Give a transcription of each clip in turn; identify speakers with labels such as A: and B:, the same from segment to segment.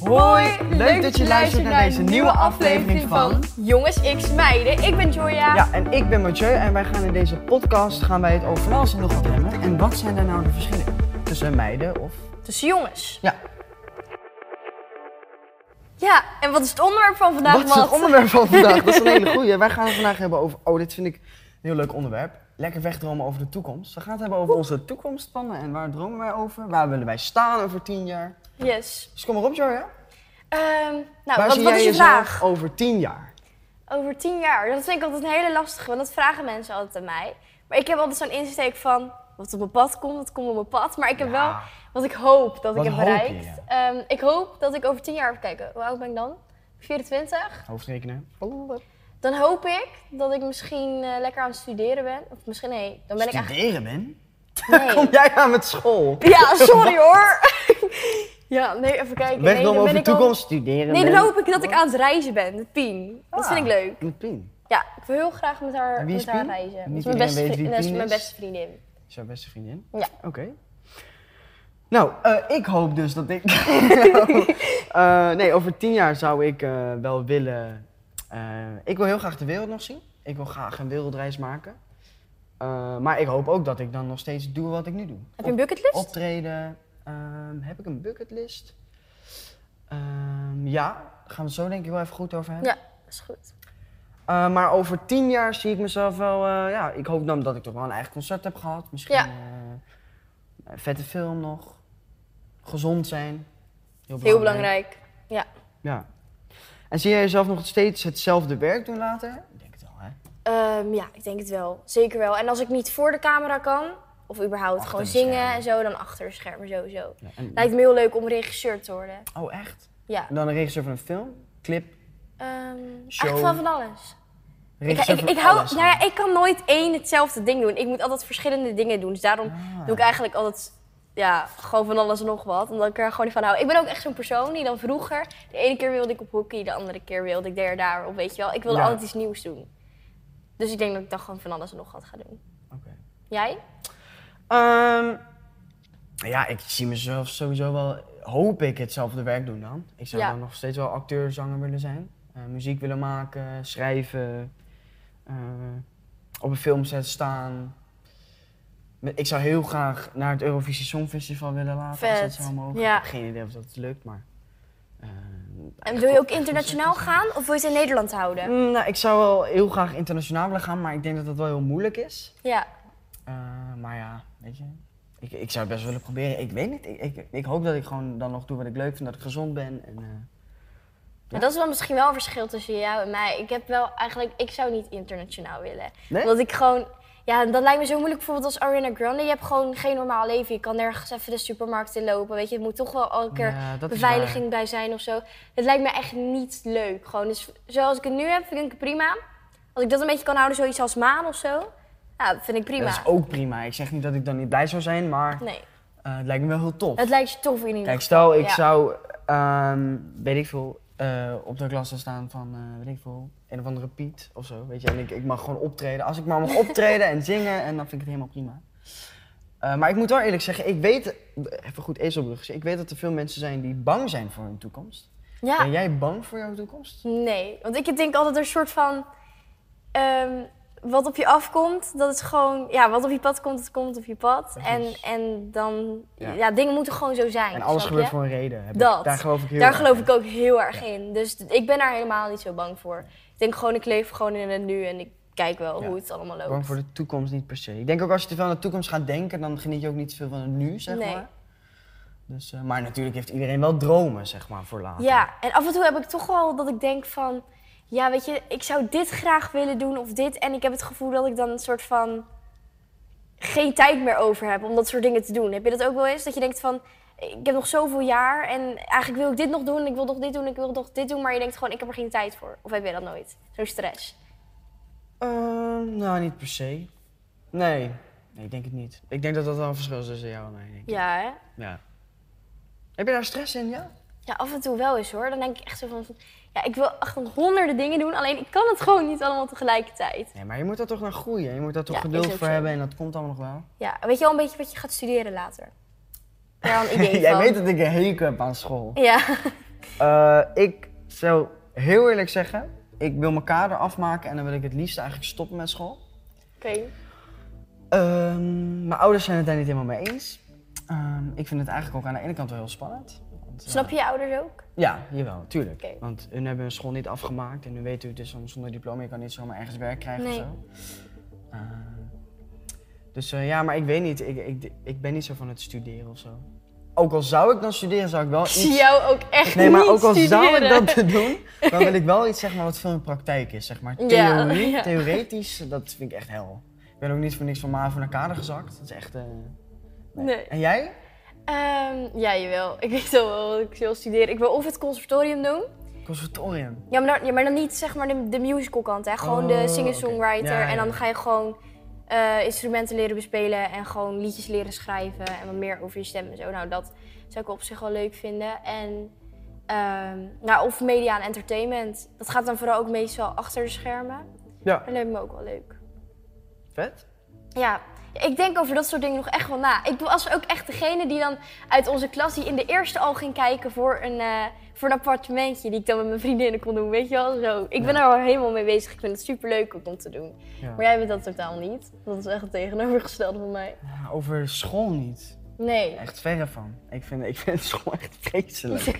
A: Hoi, leuk dat je luistert naar deze nieuwe aflevering van...
B: Jongens X Meiden. Ik ben Joya.
A: Ja, en ik ben Mathieu en wij gaan in deze podcast gaan wij het over van alles en nog wat hebben. En wat zijn daar nou de verschillen tussen meiden of...
B: Tussen jongens.
A: Ja,
B: Ja, en wat is het onderwerp van vandaag,
A: wat is het
B: Matt?
A: onderwerp van vandaag? Dat is een hele goeie. Wij gaan het vandaag hebben over... Oh, dit vind ik een heel leuk onderwerp. Lekker wegdromen over de toekomst. We gaan het hebben over onze toekomstplannen en waar dromen wij over? Waar willen wij staan over tien jaar?
B: Yes.
A: Dus kom maar op, Joya.
B: Ehm, nou,
A: Waar
B: wat,
A: zie
B: wat
A: jij
B: is je
A: jezelf
B: vraag?
A: over tien jaar?
B: Over tien jaar. Dat vind ik altijd een hele lastige, want dat vragen mensen altijd aan mij. Maar ik heb altijd zo'n insteek van, wat op mijn pad komt, wat komt op mijn pad. Maar ik heb wel wat ik hoop dat
A: Wat
B: ik heb
A: hoop je,
B: bereikt. Ehm, ik hoop dat ik over tien jaar, even kijken, hoe oud ben ik dan? 24?
A: Hoofdrekenen.
B: Dan hoop ik dat ik misschien eh, lekker aan het studeren ben. Of misschien, nee, dan ben ik eigenlijk...
A: Studeren, ben?
B: Nee.
A: Kom jij aan met school?
B: Ja, sorry hoor. ja, nee, even kijken. Nee,
A: Wegdromen
B: dan
A: over
B: ben
A: de
B: ik al-
A: toekomst, studeren
B: Nee, dan
A: ben.
B: hoop ik dat ik aan het reizen ben met Pien. Dat vind ik leuk.
A: Met Pien.
B: Ja, ik wil heel graag met haar,
A: En Ah. wie is
B: met haar
A: Pien?
B: reizen.
A: Niet
B: dat is
A: iedereen
B: mijn beste,
A: weet wie
B: vriendin, dat is
A: Pien
B: mijn
A: is.
B: beste vriendin.
A: Is jouw beste vriendin?
B: Ja.
A: Oké. Nou, eh, ik hoop dus dat ik... Eh, nee, over tien jaar zou ik eh, wel willen... eh, ik wil heel graag de wereld nog zien. Ik wil graag een wereldreis maken. Eh, maar ik hoop ook dat ik dan nog steeds doe wat ik nu doe.
B: Heb je een bucketlist?
A: Optreden. Ehm, heb ik een bucketlist? Ehm, ja, daar gaan we het zo denk ik wel even goed over hebben.
B: Ja, dat is goed.
A: Eh, maar over tien jaar zie ik mezelf wel. eh, ja, ik hoop dan dat ik toch wel een eigen concert heb gehad. Misschien
B: Ja.
A: eh, een vette film nog. Gezond zijn.
B: Heel belangrijk.
A: Ja. En zie jij jezelf nog steeds hetzelfde werk doen later? Ik denk het wel, hè?
B: Ehm, ja, ik denk het wel. Zeker wel. En als ik niet voor de camera kan, of überhaupt
A: Achter
B: gewoon
A: de
B: zingen
A: schermen.
B: en zo, dan achter de schermen sowieso.
A: Ja, en-
B: Lijkt me heel leuk om regisseur te worden.
A: Oh, echt?
B: Ja.
A: En dan een regisseur van een film, clip,
B: Ehm
A: Show.
B: Echt van van alles. Ik,
A: regisseur
B: ik,
A: van
B: ik, hou,
A: alles
B: nou ja,
A: gewoon.
B: ik kan nooit één hetzelfde ding doen. Ik moet altijd verschillende dingen doen. Dus daarom
A: Ah.
B: doe ik eigenlijk altijd ja, gewoon van alles en nog wat. Omdat ik er gewoon niet van hou. Ik ben ook echt zo'n persoon die dan vroeger... De ene keer wilde ik op hockey, de andere keer wilde ik daar en daar op. Weet je wel, ik wilde
A: Ja.
B: altijd iets nieuws doen. Dus ik denk dat ik dan gewoon van alles en nog wat ga doen.
A: Oké.
B: Jij?
A: Ehm, ja, ik zie mezelf sowieso wel, hoop ik, hetzelfde werk doen dan. Ik zou
B: Ja.
A: dan nog steeds wel acteur, zanger willen zijn. Eh, muziek willen maken, schrijven, eh, op een filmset staan. Me- Ik zou heel graag naar het Eurovisie Songfestival willen laten, als dat
B: Vet,
A: zou mogen.
B: ja.
A: Ik heb geen idee of dat lukt, maar... eh,
B: En wil je ook internationaal gaan of wil je het in Nederland houden?
A: Mm, nou, ik zou wel heel graag internationaal willen gaan, maar ik denk dat dat wel heel moeilijk is.
B: Ja,
A: Eh, maar ja, weet je. Ik, ik zou het best willen proberen. Ik weet niet. Ik, ik, ik hoop dat ik gewoon dan nog doe wat ik leuk vind. Dat ik gezond ben. En, eh,
B: maar dat is wel misschien wel een verschil tussen jou en mij. Ik heb wel eigenlijk... Ik zou niet internationaal willen.
A: nee?
B: Want ik gewoon... Ja, dat lijkt me zo moeilijk bijvoorbeeld als Ariana Grande. Je hebt gewoon geen normaal leven. Je kan nergens even de supermarkt in lopen. Weet je, het moet toch wel elke keer
A: Ja, dat is waar.
B: beveiliging bij zijn of zo. Het lijkt me echt niet leuk. Gewoon, dus zoals ik het nu heb, vind ik het prima. Als ik dat een beetje kan houden, zoiets als maan of zo. Ja, dat vind ik
A: Ja,
B: prima.
A: dat is ook prima. Ik zeg niet dat ik dan niet blij zou zijn, maar
B: Nee,
A: eh, het lijkt me wel heel tof.
B: het lijkt je tof in ieder
A: Kijk,
B: geval.
A: stel ik
B: ja.
A: zou, ehm, weet ik veel, eh, op de klas staan van, eh, weet ik veel, een of andere Piet of zo, weet je. En ik, ik mag gewoon optreden. Als ik maar mag optreden en zingen, en dan vind ik het helemaal prima. Eh, maar ik moet wel eerlijk zeggen, ik weet, even goed ezelbruggetje, ik weet dat er veel mensen zijn die bang zijn voor hun toekomst.
B: Ja.
A: Ben jij bang voor jouw toekomst?
B: Ah. Nee, want ik denk altijd een soort van. ehm, wat op je afkomt, dat is gewoon. Ja, wat op je pad komt, dat komt op je pad. En,
A: Precies.
B: en dan.
A: Ja.
B: Ja. dingen moeten gewoon zo zijn.
A: En alles
B: snap
A: gebeurt
B: je?
A: voor een reden. heb ik-
B: Dat.
A: Daar geloof ik heel
B: Daar
A: erg
B: geloof
A: in.
B: ik ook heel erg in. Dus d- ik ben daar helemaal niet zo bang voor. Ik denk gewoon, ik leef gewoon in het nu en ik kijk wel
A: Ja.
B: hoe het allemaal loopt.
A: Bang voor de toekomst niet per se. Ik denk ook als je te veel aan de toekomst gaat denken, dan geniet je ook niet veel van het nu, zeg
B: Nee.
A: maar. Dus, eh, maar natuurlijk heeft iedereen wel dromen, zeg maar, voor later.
B: Ja, en af en toe heb ik toch wel dat ik denk van... Ja, weet je, ik zou dit graag willen doen of dit. En ik heb het gevoel dat ik dan een soort van... geen tijd meer over heb om dat soort dingen te doen. Heb je dat ook wel eens? Dat je denkt van... Ik heb nog zoveel jaar en eigenlijk wil ik dit nog doen. Ik wil nog dit doen, ik wil nog dit doen. Maar je denkt gewoon, ik heb er geen tijd voor. Of heb je dat nooit? Zo'n stress.
A: Ehm, nou, niet per se. Nee. nee, ik denk het niet. Ik denk dat dat wel een verschil is tussen jou en mij. denk ik.
B: Ja, hè?
A: Ja. Heb je daar stress in, ja?
B: Ja, af en toe wel eens hoor. Dan denk ik echt zo van... Ja, ik wil echt honderden dingen doen. Alleen ik kan het gewoon niet allemaal tegelijkertijd.
A: Nee, maar je moet daar toch naar groeien. Je moet daar toch
B: Ja,
A: geduld
B: is ook
A: voor
B: zo.
A: hebben en dat komt allemaal nog wel.
B: Ja, weet je wel een beetje wat je gaat studeren later? Heb je al een idee
A: Jij
B: van?
A: weet dat ik een hekel heb aan school.
B: Ja.
A: Eh, ik zou heel eerlijk zeggen, ik wil mijn kader afmaken en dan wil ik het liefst eigenlijk stoppen met school.
B: Oké.
A: Ehm, mijn ouders zijn het daar niet helemaal mee eens. Ehm, ik vind het eigenlijk ook aan de ene kant wel heel spannend. Want, eh,
B: Snap je je ouders ook?
A: Ja, jawel, tuurlijk.
B: Oké.
A: Want hun hebben hun school niet afgemaakt en nu weten we het dus van zonder diploma, je kan niet zomaar ergens werk krijgen
B: Nee.
A: of zo. Eh, dus eh, ja, maar ik weet niet, ik, ik, ik ben niet zo van het studeren of zo. Ook al zou ik dan studeren, zou ik wel
B: Ik
A: iets...
B: zie jou ook echt
A: Nee, maar
B: niet
A: ook al zou ik
B: studeren.
A: dat doen, dan wil ik wel iets zeg maar, wat veel in praktijk is. Zeg maar.
B: Ja,
A: Theorie,
B: ja.
A: Theoretisch, dat vind ik echt hel. Ik ben ook niet voor niks van MAVO naar kader gezakt. Dat is echt... eh,
B: Nee.
A: En jij?
B: Ehm, ja, jawel. Ik weet al wel wat ik wil studeren. Ik wil of het conservatorium doen.
A: Conservatorium.
B: Ja, maar dan, ja, maar dan niet zeg maar de, de musical kant, hè. Gewoon
A: Oh,
B: de singer-songwriter.
A: oké. Ja,
B: En dan
A: ja.
B: ga je gewoon eh, instrumenten leren bespelen en gewoon liedjes leren schrijven. En wat meer over je stem en zo. Nou, dat zou ik op zich wel leuk vinden. En, ehm, nou, of media en entertainment. Dat gaat dan vooral ook meestal achter de schermen.
A: Ja.
B: Dat lijkt me ook wel leuk.
A: Vet.
B: Ja, ik denk over dat soort dingen nog echt wel na. Ik was ook echt degene die dan uit onze klas die in de eerste al ging kijken voor een, eh, voor een appartementje die ik dan met mijn vriendinnen kon doen, weet je wel? Zo. Ik ben er al helemaal mee bezig. Ik vind het superleuk ook om te doen.
A: Ja.
B: Maar jij bent dat totaal niet. Dat is echt het tegenovergestelde van mij.
A: Over school niet.
B: Nee.
A: Echt verre van. Ik vind, ik vind school echt vreselijk.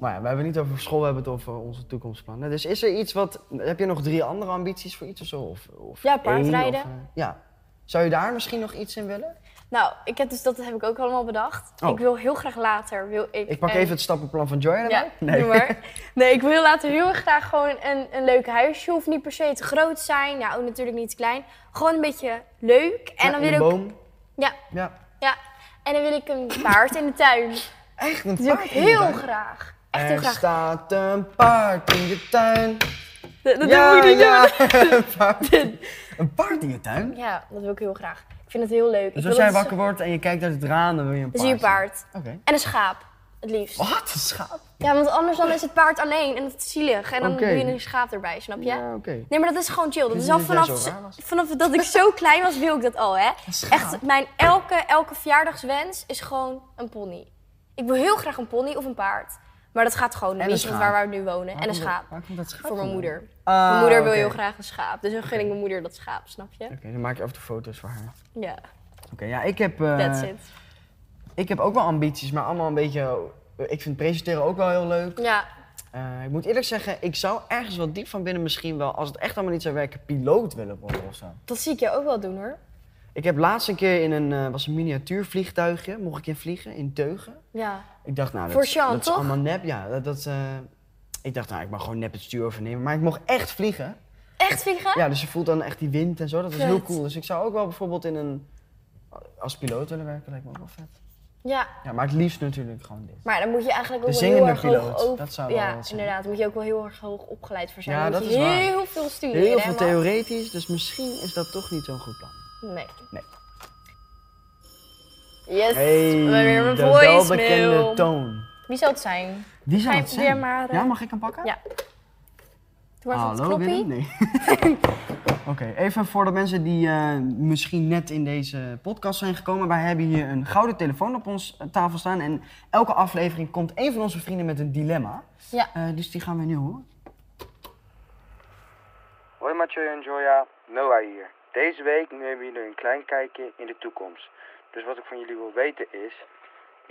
A: maar ja, we hebben het niet over school, we hebben het over onze toekomstplannen. Dus is er iets wat... Heb je nog drie andere ambities voor iets of zo? Of, of
B: Ja,
A: één, of,
B: paardrijden.
A: eh, ja. Zou je daar misschien nog iets in willen?
B: Nou, ik heb dus dat heb ik ook allemaal bedacht.
A: Oh.
B: Ik wil heel graag later wil ik.
A: Ik pak
B: een-
A: even het stappenplan van Joy erbij.
B: Ja,
A: Nee.
B: doe maar. Nee, ik wil heel later heel erg graag gewoon een, een leuk huisje. Hoeft niet per se te groot zijn. Nou, ook natuurlijk niet te klein. Gewoon een beetje leuk. En
A: Ja,
B: dan
A: in
B: wil
A: een
B: ik...
A: boom.
B: Ja,
A: Ja.
B: ja. En dan wil ik een paard in de tuin.
A: Echt een
B: Dat wil ik
A: paard in de
B: heel
A: tuin.
B: graag. Echt heel
A: Er
B: graag.
A: staat een paard in de tuin.
B: Dat, dat
A: ja,
B: moet ik niet
A: ja.
B: doen.
A: een, paard. een paard in je tuin?
B: Ja, dat wil ik heel graag. Ik vind het heel leuk. Ik
A: Dus
B: wil
A: als
B: dat
A: jij
B: zo-
A: wakker wordt en je kijkt uit het raam, dan wil je een
B: Dan
A: paard.
B: zie je een paard.
A: zien. Oké.
B: En een schaap. Het liefst.
A: Wat? Een schaap?
B: Ja, want anders dan is het paard alleen en dat is zielig. En dan
A: Oké.
B: doe je een schaap erbij, snap je?
A: oké.
B: Nee, maar dat is gewoon chill. Dat
A: Vind
B: is
A: je
B: al
A: dat jij
B: vanaf,
A: zo raar was?
B: vanaf dat ik zo klein was, wil ik dat al, hè?
A: schaap?
B: Echt, mijn elke, elke verjaardagswens is gewoon een pony. Ik wil heel graag een pony of een paard. Maar dat gaat gewoon
A: een
B: niet, want
A: schaap.
B: waar we nu wonen.
A: Waar
B: En een
A: komt dat-
B: schaap.
A: Waar komt dat schaap
B: Voor mijn
A: vandaan?
B: moeder.
A: Ah,
B: mijn moeder wil
A: oké.
B: heel graag een schaap. Dus dan gun ik mijn moeder dat schaap, snap je?
A: Oké, dan maak je af en toe foto's voor haar.
B: Ja,
A: Oké, ja, ik heb, eh,
B: that's it.
A: ik heb ook wel ambities, maar allemaal een beetje... Ik vind presenteren ook wel heel leuk.
B: Ja,
A: Eh, ik moet eerlijk zeggen, ik zou ergens wel diep van binnen misschien wel, als het echt allemaal niet zou werken, piloot willen worden of zo.
B: dat zie ik jou ook wel doen, hoor.
A: Ik heb laatst een keer in een, eh, was een miniatuurvliegtuigje, mocht ik in vliegen, in Teugen.
B: Ja.
A: Ik dacht, nou, dat,
B: Voor
A: is-
B: Sean,
A: dat is
B: toch?
A: allemaal nep. Ja, dat, dat, eh, ik dacht, nou, ik mag gewoon nep het stuur overnemen. Maar ik mocht echt vliegen.
B: Echt vliegen?
A: Ja, dus je voelt dan echt die wind en zo. Dat is
B: Vet.
A: heel cool. Dus ik zou ook wel bijvoorbeeld in een, als piloot willen werken, lijkt me ook wel vet.
B: ja.
A: Ja, maar het liefst natuurlijk gewoon dit.
B: Maar dan moet je eigenlijk ook
A: De
B: wel heel
A: zingende
B: erg hoog
A: piloot,
B: op...
A: dat zou wel
B: Ja,
A: wat zijn.
B: inderdaad. Daar moet je ook wel heel erg hoog opgeleid voor zijn.
A: Ja,
B: Dan
A: dat
B: moet
A: is
B: je
A: waar.
B: heel veel studeren.
A: Heel
B: hè,
A: veel
B: maar-
A: theoretisch, dus misschien is dat toch niet zo'n goed plan.
B: Nee.
A: Nee.
B: Yes,
A: Hey,
B: we hebben weer
A: de
B: een
A: welbekende
B: voicemail.
A: toon.
B: Wie zou het zijn?
A: Die zou
B: Ga
A: het
B: je
A: zijn.
B: weer maar, eh,
A: Ja, mag ik hem pakken?
B: Ja. Doe maar even het
A: Hallo
B: knoppie.
A: Willem? Nee. Oké, even voor de mensen die eh, misschien net in deze podcast zijn gekomen. Wij hebben hier een gouden telefoon op ons eh, tafel staan. En elke aflevering komt een van onze vrienden met een dilemma.
B: Ja.
A: Eh, dus die gaan we nu horen.
C: Hoi Mathieu en Joya, Noah hier. Deze week nemen jullie een klein kijkje in de toekomst. Dus wat ik van jullie wil weten is...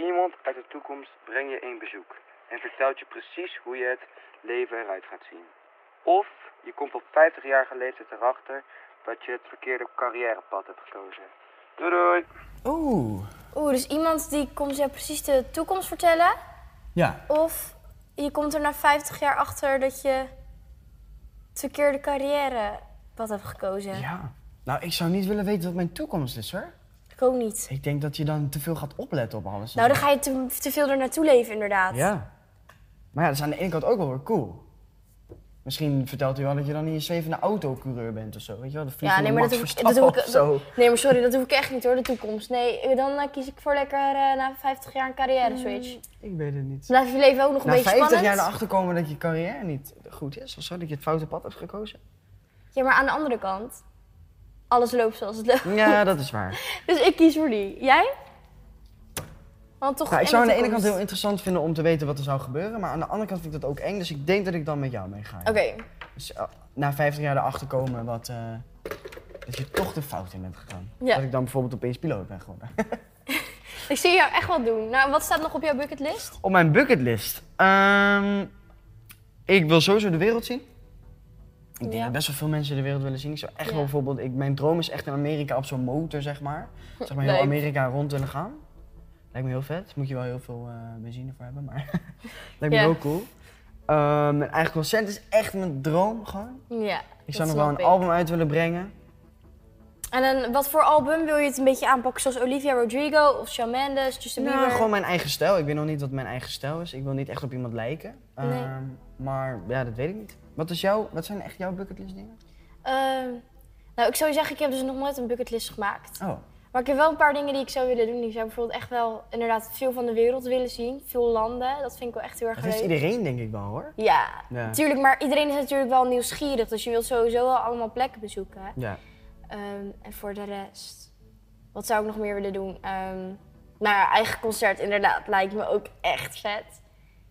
C: Iemand uit de toekomst brengt je een bezoek. En vertelt je precies hoe je het leven eruit gaat zien. Of je komt op 50-jarige leeftijd erachter dat je het verkeerde carrièrepad hebt gekozen. Doei doei!
A: Oeh.
B: Oeh, dus iemand die komt jou precies de toekomst vertellen.
A: Ja.
B: Of je komt er na 50 jaar achter dat je het verkeerde carrière wat hebt gekozen.
A: Ja. Nou, ik zou niet willen weten wat mijn toekomst is hoor.
B: Ik ook niet.
A: Ik denk dat je dan te veel gaat opletten op alles.
B: Nou, dan ga je te, te veel er naartoe leven, inderdaad.
A: Ja. Maar ja, dat is aan de ene kant ook wel weer cool. Misschien vertelt hij wel dat je dan in je zevende autocoureur bent of zo. Weet je wel, de
B: Ja,
A: vliegende
B: nee, maar dat
A: Max
B: hoef, ik, dat
A: Verstappen
B: doe ik.
A: of zo.
B: dat- nee, maar sorry, dat hoef ik echt niet hoor, de toekomst. Nee, dan eh, kies ik voor lekker eh, na 50 jaar een carrière switch.
A: Ik weet het niet.
B: Blijf je leven ook nog een
A: Mm. Na
B: beetje
A: 50 jaar
B: spannend.
A: erachter komen dat je carrière niet goed is of zo, dat je het foute pad hebt gekozen.
B: Ja, maar aan de andere kant, alles loopt zoals het loopt.
A: Ja, dat is waar.
B: Dus ik kies voor die. Jij? Want toch
A: Nou, ik
B: in
A: zou aan de ene
B: toekomst-
A: kant heel interessant vinden om te weten wat er zou gebeuren, maar aan de andere kant vind ik dat ook eng. Dus ik denk dat ik dan met jou mee ga. ja.
B: Oké,
A: Dus eh, na 50 jaar erachter komen wat, eh, dat je toch de fout in bent gegaan.
B: Ja.
A: Dat ik dan bijvoorbeeld opeens piloot ben geworden.
B: ik zie jou echt wat doen. Nou, wat staat nog op jouw bucketlist?
A: Op mijn bucketlist. Ehm, ik wil sowieso de wereld zien. Ik denk
B: Ja.
A: dat best wel veel mensen de wereld willen zien. Ik zou echt
B: Ja.
A: wel bijvoorbeeld, ik, mijn droom is echt in Amerika op zo'n motor, zeg maar. Zeg maar heel
B: Leuk.
A: Amerika rond willen gaan. Lijkt me heel vet. Moet je wel heel veel eh, benzine voor hebben, maar lijkt me
B: Ja.
A: heel cool. Ehm mijn eigen concert is echt mijn droom gewoon.
B: Ja.
A: Ik zou nog wel een album uit willen brengen.
B: En een, wat voor album wil je het een beetje aanpakken? Zoals Olivia Rodrigo of Shawn Mendes, Justin
A: Nou,
B: Bieber?
A: gewoon mijn eigen stijl. Ik weet nog niet wat mijn eigen stijl is. Ik wil niet echt op iemand lijken.
B: Nee.
A: Ehm, maar ja, dat weet ik niet. Wat, is jouw, wat zijn echt jouw bucketlist dingen?
B: Ehm, nou, ik zou zeggen, ik heb dus nog nooit een bucketlist gemaakt.
A: Oh,
B: Maar ik heb wel een paar dingen die ik zou willen doen. Ik zou bijvoorbeeld echt wel inderdaad veel van de wereld willen zien. Veel landen. Dat vind ik wel echt heel erg
A: dat
B: leuk.
A: heeft iedereen denk ik wel hoor.
B: Ja,
A: Ja.
B: natuurlijk. Maar iedereen is natuurlijk wel nieuwsgierig. Dus je wilt sowieso wel allemaal plekken bezoeken.
A: Ja.
B: Ehm, en voor de rest. Wat zou ik nog meer willen doen? Ehm nou ja, eigen concert inderdaad lijkt me ook echt vet.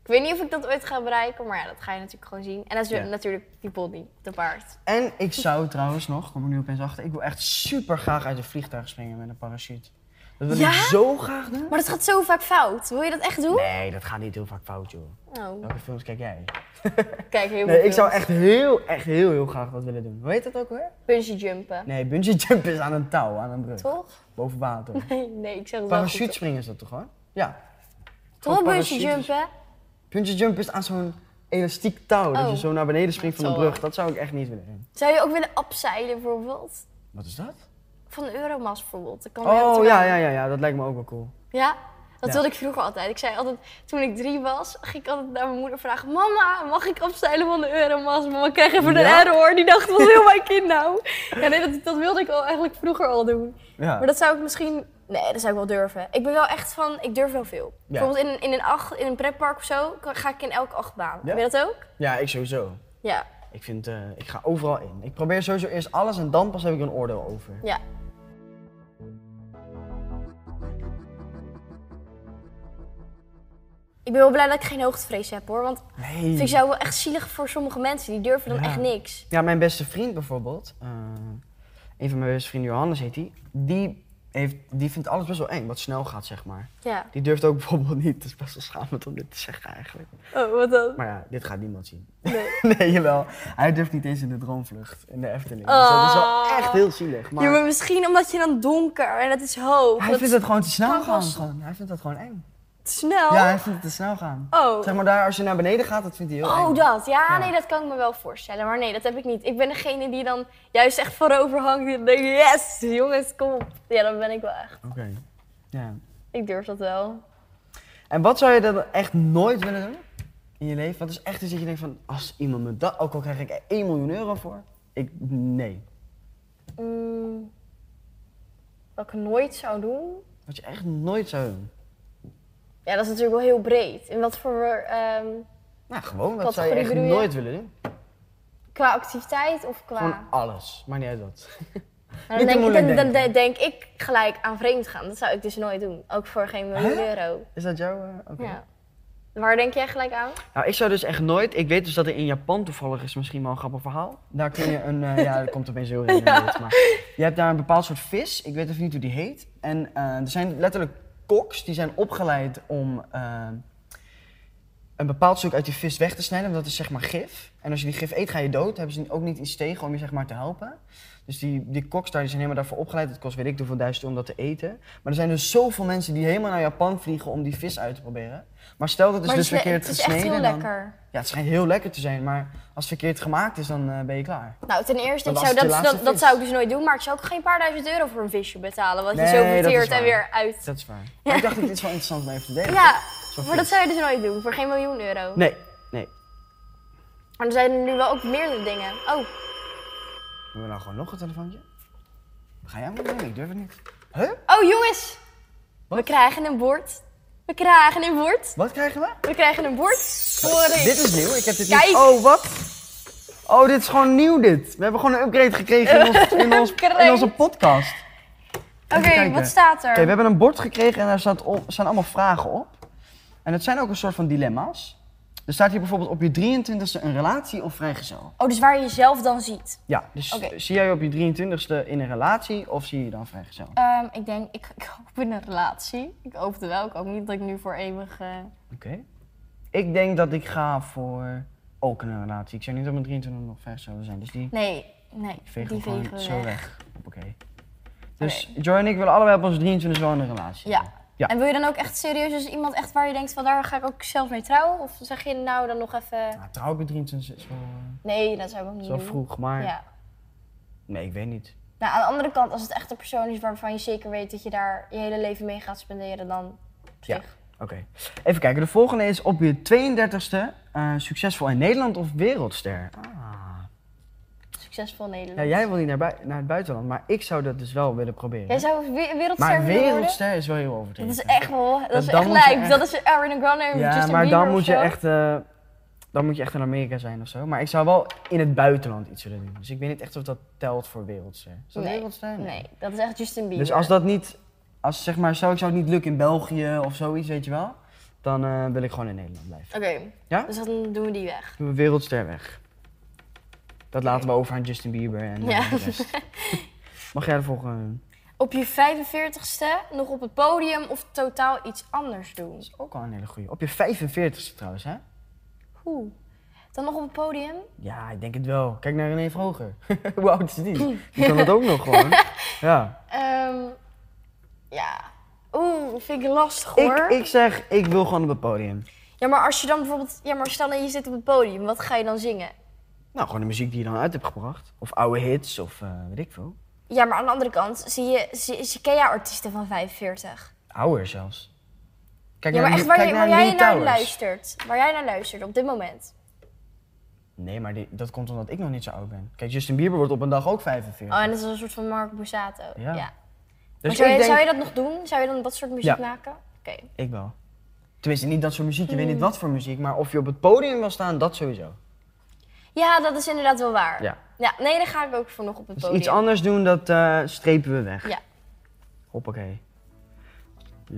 B: Ik weet niet of ik dat ooit ga bereiken, maar ja, dat ga je natuurlijk gewoon zien. En dat is
A: Ja.
B: natuurlijk die body, de paard.
A: En ik zou trouwens nog, kom ik nu opeens achter, ik wil echt super graag uit een vliegtuig springen met een parachute. Dat wil
B: Ja?
A: ik zo graag doen.
B: Maar dat gaat zo vaak fout. Wil je dat echt doen?
A: Nee, dat gaat niet heel vaak fout joh.
B: Oh,
A: Welke films kijk jij?
B: kijk, heel
A: Nee,
B: veel
A: ik zou
B: films.
A: echt heel, echt heel, heel graag dat willen doen. Hoe heet dat ook weer?
B: Bungee jumpen,
A: Nee, bungee jump is aan een touw, aan een brug.
B: toch?
A: Boven water.
B: nee, ik zeg het wel
A: Parachute
B: goed.
A: springen is dat toch gewoon? Ja.
B: Toch
A: Gewoon
B: bungee
A: parachutes.
B: jumpen?
A: Bungee jump is aan zo'n elastiek touw, dat
B: Oh.
A: je zo naar beneden springt
B: Dat
A: van de
B: zal
A: brug. Dat zou ik echt niet willen doen.
B: Zou je ook willen upseilen bijvoorbeeld?
A: Wat is dat?
B: Van Euromas bijvoorbeeld. Dat kan weer op
A: Oh
B: de
A: ja,
B: baan.
A: ja, ja, ja, dat lijkt me ook wel cool.
B: Ja, dat
A: Ja.
B: wilde ik vroeger altijd. Ik zei altijd, toen ik drie was, ging ik altijd naar mijn moeder vragen... Mama, mag ik opstijlen van de Euromas? Mama, ik krijg even
A: Ja?
B: een error. Die dacht, wat wil mijn kind nou? Ja, nee, dat, dat wilde ik al eigenlijk vroeger al doen.
A: Ja.
B: Maar dat zou ik misschien... Nee, dat zou ik wel durven. Ik ben wel echt van, ik durf wel veel. Bijvoorbeeld in, een- in, een, acht, in een pretpark of zo, kan- ga ik in elke achtbaan.
A: Ja?
B: Heb je dat ook?
A: ja, ik sowieso.
B: Ja,
A: Ik vind, eh, ik ga overal in. Ik probeer sowieso eerst alles en dan pas heb ik een oordeel over.
B: ja. Ik ben wel blij dat ik geen hoogtevrees heb hoor, want
A: Nee.
B: Vind ik zo wel echt zielig voor sommige mensen. Die durven dan
A: Hmm. Ja.
B: echt niks.
A: Ja, mijn beste vriend bijvoorbeeld, eh, een van mijn beste vrienden, Johannes heet die, die, heeft, die vindt alles best wel eng, wat snel gaat zeg maar.
B: Ja.
A: Die durft ook bijvoorbeeld niet, het is best wel schamend om dit te zeggen eigenlijk.
B: Oh, wat dan?
A: Maar ja, dit gaat niemand zien.
B: Nee.
A: Nee, jawel. Hij durft niet eens in de droomvlucht, in de Efteling. Dus dat is wel
B: Ah.
A: echt heel zielig. Maar
B: Ja, maar misschien omdat je dan donker en het is hoog.
A: hij
B: dat
A: vindt het gewoon te
B: kan
A: snel
B: wel
A: gaan.
B: s-
A: Gewoon. Hij vindt dat gewoon eng.
B: is snel.
A: Ja, hij vindt het te snel gaan.
B: Oh.
A: Zeg maar daar, als je naar beneden gaat, dat vindt hij heel
B: Oh,
A: eng.
B: dat. Ja,
A: Ja.
B: nee, dat kan ik me wel voorstellen. Maar nee, dat heb ik niet. Ik ben degene die dan juist echt voorover hangt. Die denkt, yes, jongens, kom op. Ja, dat ben ik wel echt.
A: Oké. Ja.
B: Ik durf dat wel.
A: En wat zou je dan echt nooit willen doen in je leven? Wat is echt iets dat je denkt van, als iemand me dat, ook al krijg ik er 1 miljoen euro voor. Ik, nee.
B: Mm, wat ik nooit zou doen?
A: Wat je echt nooit zou doen.
B: Ja, dat is natuurlijk wel heel breed. In wat voor... ehm,
A: Nou, gewoon, wat
B: Categorie
A: zou je echt
B: bedoel je?
A: nooit willen doen?
B: qua activiteit of qua...
A: Gewoon alles. Maakt niet uit wat.
B: Maar
A: Niet
B: dan,
A: te
B: denk,
A: moeilijk
B: dan, dan
A: denken.
B: denk ik gelijk aan vreemd gaan. Dat zou ik dus nooit doen. Ook voor geen miljoen
A: Hè?
B: euro.
A: Is dat jouw... eh, Oké.
B: Ja. Waar denk jij gelijk aan?
A: Nou, ik zou dus echt nooit. Ik weet dus dat er in Japan toevallig is misschien wel een grappig verhaal. Daar kun je een. eh, ja, dat komt opeens heel random
B: Ja.
A: dit, Maar je hebt daar een bepaald soort vis. Ik weet even niet hoe die heet. En eh, er zijn letterlijk koks die zijn opgeleid om eh, een bepaald stuk uit die vis weg te snijden. Want dat is zeg maar gif. En als je die gif eet, ga je dood. Hebben ze ook niet iets tegen om je zeg maar te helpen. Dus die, die koks daar die zijn helemaal daarvoor opgeleid. Het kost weet ik hoeveel duizend om dat te eten. Maar er zijn dus zoveel mensen die helemaal naar Japan vliegen om die vis uit te proberen. Maar stel dat het is
B: Maar
A: dus
B: het is,
A: verkeerd
B: het is
A: gesneden.
B: echt heel
A: dan-
B: lekker.
A: ja, het schijnt heel lekker te zijn, maar als het verkeerd gemaakt is, dan eh, ben je klaar.
B: Nou, ten eerste, ik
A: Dat was
B: zou,
A: de
B: dat,
A: laatste
B: dat, dat
A: vis.
B: zou ik dus nooit doen. Maar ik zou ook geen paar duizend euro voor een visje betalen. Wat
A: Nee,
B: je zo
A: dat is
B: verteert en
A: waar.
B: weer uit.
A: Dat is waar. Maar ik dacht dat dit wel interessant om even te delen.
B: Ja,
A: Zo'n
B: maar dat
A: vis.
B: zou je dus nooit doen. Voor geen miljoen euro.
A: Nee, nee.
B: Maar er zijn er nu wel ook meerdere dingen. Oh,
A: Hebben we nou gewoon nog een telefoontje? Ga jij maar mee? Ik durf het niet. Huh?
B: oh jongens. We krijgen een bord. We krijgen een bord.
A: Wat krijgen we?
B: We krijgen een bord. Sorry.
A: Dit is nieuw, ik heb dit
B: Kijk.
A: niet... Oh, wat? Oh, dit is gewoon nieuw dit. We hebben gewoon een upgrade gekregen in, ons, in, ons, in
B: Upgrade.
A: onze podcast.
D: Oké,
A: kijken.
D: wat staat er?
A: Oké, we hebben een bord gekregen en daar staat op, staan allemaal vragen op. En het zijn ook een soort van dilemma's. Er staat hier bijvoorbeeld op je 23ste een relatie of vrijgezel.
D: Oh, dus waar je jezelf dan ziet.
A: Ja, dus
D: Oké.
A: zie jij je op je 23ste in een relatie of zie je je dan vrijgezel? Oké.
B: Ehm, ik denk, ik, ik hoop in een relatie. Ik hoop het wel. Ik hoop niet dat ik nu voor eeuwig... eh,
A: Ik denk dat ik ga voor ook in een relatie. Ik zou niet op mijn 23 nog vrijgezel willen zijn, dus die
B: Nee, nee.
A: vegen
B: die
A: we gewoon
B: vegen we
A: zo
B: weg.
A: weg. Oké. Dus Joy en ik willen allebei op onze 23 wel in een relatie.
B: Ja.
A: hebben. Ja.
B: En wil je dan ook echt serieus dus iemand echt waar je denkt van daar ga ik ook zelf mee trouwen? Of zeg je nou dan nog even...
A: Nou, trouw op je 23 is wel, eh,
B: Nee, dat zou ik ook niet
A: is wel
B: doen.
A: vroeg, maar
B: Mm. Ja.
A: nee, ik weet niet.
B: Nou, aan de andere kant, als het echt een persoon is waarvan je zeker weet dat je daar je hele leven mee gaat spenderen, dan op
A: Ja.
B: zich.
A: Oké. Even kijken, de volgende is op je 32e eh, succesvol in Nederland of wereldster. Ah.
B: Succesvol Nederland.
A: Ja, jij wil niet naar, bui- naar het buitenland, maar ik zou dat dus wel willen proberen.
B: Jij zou we-
A: maar
B: wereldster willen worden?
A: wereldster is wel heel
B: Dat
A: overdreven.
B: is echt wel, dat, is
A: dan
B: echt
A: moet je
B: lijp.
A: echt-
B: Dat is Ariana Grande en
A: ja,
B: Justin
A: maar
B: Bieber
A: dan
B: of
A: moet, je
B: zo.
A: echt, eh, dan moet je echt in Amerika zijn of zo. Maar ik zou wel in het buitenland iets willen doen. Dus ik weet niet echt of dat telt voor wereldster. Is dat
B: Nee,
A: wereldster?
B: Nee, dat is echt Justin Bieber.
A: Dus als dat niet, als zeg maar, zou ik zou het niet lukken in België of zoiets, weet je wel, dan eh, wil ik gewoon in Nederland blijven.
B: Oké,
A: Ja?
B: dus dan doen we die weg.
A: Doen we wereldster weg. Dat laten we over aan Justin Bieber en eh,
B: Ja.
A: de rest. Mag jij de volgende doen?
B: Op je 45ste nog op het podium of totaal iets anders doen?
A: Dat is ook al een hele goeie. Op je 45ste trouwens, hè?
B: Oeh. Dan nog op het podium?
A: Ja, ik denk het wel. Kijk naar René Vroger. Hoe oud is die? Die kan dat ook nog gewoon. Ja.
B: Ehm, ja. Oeh, vind ik lastig
A: Ik,
B: hoor.
A: ik zeg, ik wil gewoon op het podium.
B: Ja, maar als je dan bijvoorbeeld... Ja, maar stel dat je zit op het podium, wat ga je dan zingen?
A: Nou, gewoon de muziek die je dan uit hebt gebracht. Of oude hits, of eh, weet ik veel.
B: Ja, maar aan de andere kant, zie je, zie, zie, ken jij artiesten van 45?
A: Ouder zelfs. Kijk
B: Ja, maar
A: naar,
B: echt
A: Lee-
B: waar,
A: kijk
B: je,
A: naar
B: waar jij
A: Lee
B: naar
A: Towers.
B: luistert. Waar jij naar luistert op dit moment.
A: Nee, maar die- dat komt omdat ik nog niet zo oud ben. Kijk, Justin Bieber wordt op een dag ook 45.
B: Oh, en dat is een soort van Marco Borsato.
A: Ja.
B: Ja.
A: dus
B: maar zou,
A: ik
B: je,
A: denk...
B: zou je dat nog doen? Zou je dan dat soort muziek
A: Ja.
B: maken? Oké.
A: Ik wel. Tenminste, niet dat soort muziek. Je weet
B: Hmm.
A: niet wat voor muziek, maar of je op het podium wil staan, dat sowieso.
B: Ja, dat is inderdaad wel waar.
A: Ja.
B: Ja, nee, daar ga ik ook voor nog op het
A: Dus
B: podium.
A: iets anders doen, dat eh, strepen we weg.
B: Ja.
A: Hoppakee.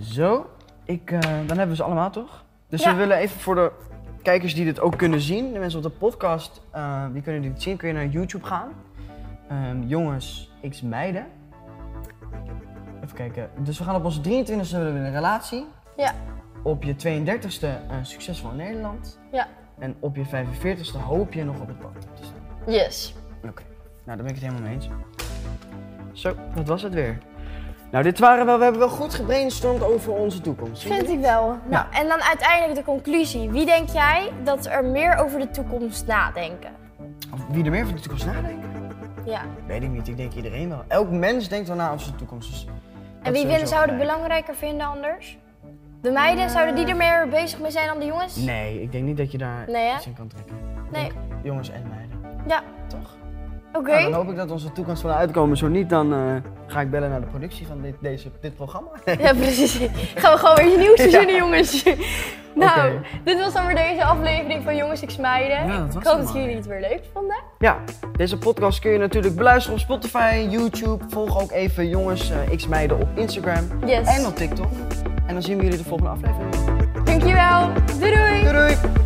A: Zo. Ik, eh, dan hebben we ze allemaal, toch? Dus
B: Ja.
A: we willen even voor de kijkers die dit ook kunnen zien, de mensen op de podcast, eh, die kunnen dit zien, kun je naar YouTube gaan. Ehm, jongens, x meiden. Even kijken. Dus we gaan op onze 23e willen we in een relatie.
B: Ja.
A: Op je 32e eh, succesvol in Nederland.
B: Ja.
A: En op je 45ste hoop je nog op het podium te staan.
B: Yes.
A: Oké, nou daar ben ik het helemaal mee eens. Zo, dat was het weer. Nou, dit waren wel, we hebben wel goed gebrainstormd over onze toekomst.
D: Vind ik wel. Nou,
A: Ja.
D: En dan uiteindelijk de conclusie. Wie denk jij dat er meer over de toekomst nadenken?
A: Of wie er meer van de toekomst nadenkt?
D: Ja.
A: Weet ik niet, ik denk iedereen wel. Elk mens denkt wel na over zijn toekomst. dus dat
D: En
A: is
D: wie
A: sowieso
D: willen, zouden
A: gelijk.
D: belangrijker vinden anders? De meiden, zouden die er meer bezig mee zijn dan de jongens?
A: Nee, ik denk niet dat je daar
D: Nee, hè?
A: iets in kan trekken. Ik
D: Nee.
A: denk jongens en meiden,
D: Ja,
A: toch?
D: oké.
A: Nou, dan hoop ik dat onze toekomst wel uitkomen. Zo niet, dan eh, ga ik bellen naar de productie van dit, deze, dit programma.
B: Ja, precies. Gaan we gewoon weer een nieuw seizoen, in, jongens. Nou,
A: Oké.
B: dit was dan weer deze aflevering van Jongens, ik
A: Ja,
B: smijden.
A: dat was
B: ik hoop
A: hem
B: dat
A: alweer.
B: jullie het weer leuk vonden.
A: Ja, deze podcast kun je natuurlijk beluisteren op Spotify, YouTube. Volg ook even jongens eh, X meiden op Instagram
B: Yes.
A: en op TikTok. En dan zien we jullie de volgende aflevering.
B: Dankjewel. Doei doei.
A: Doei doei!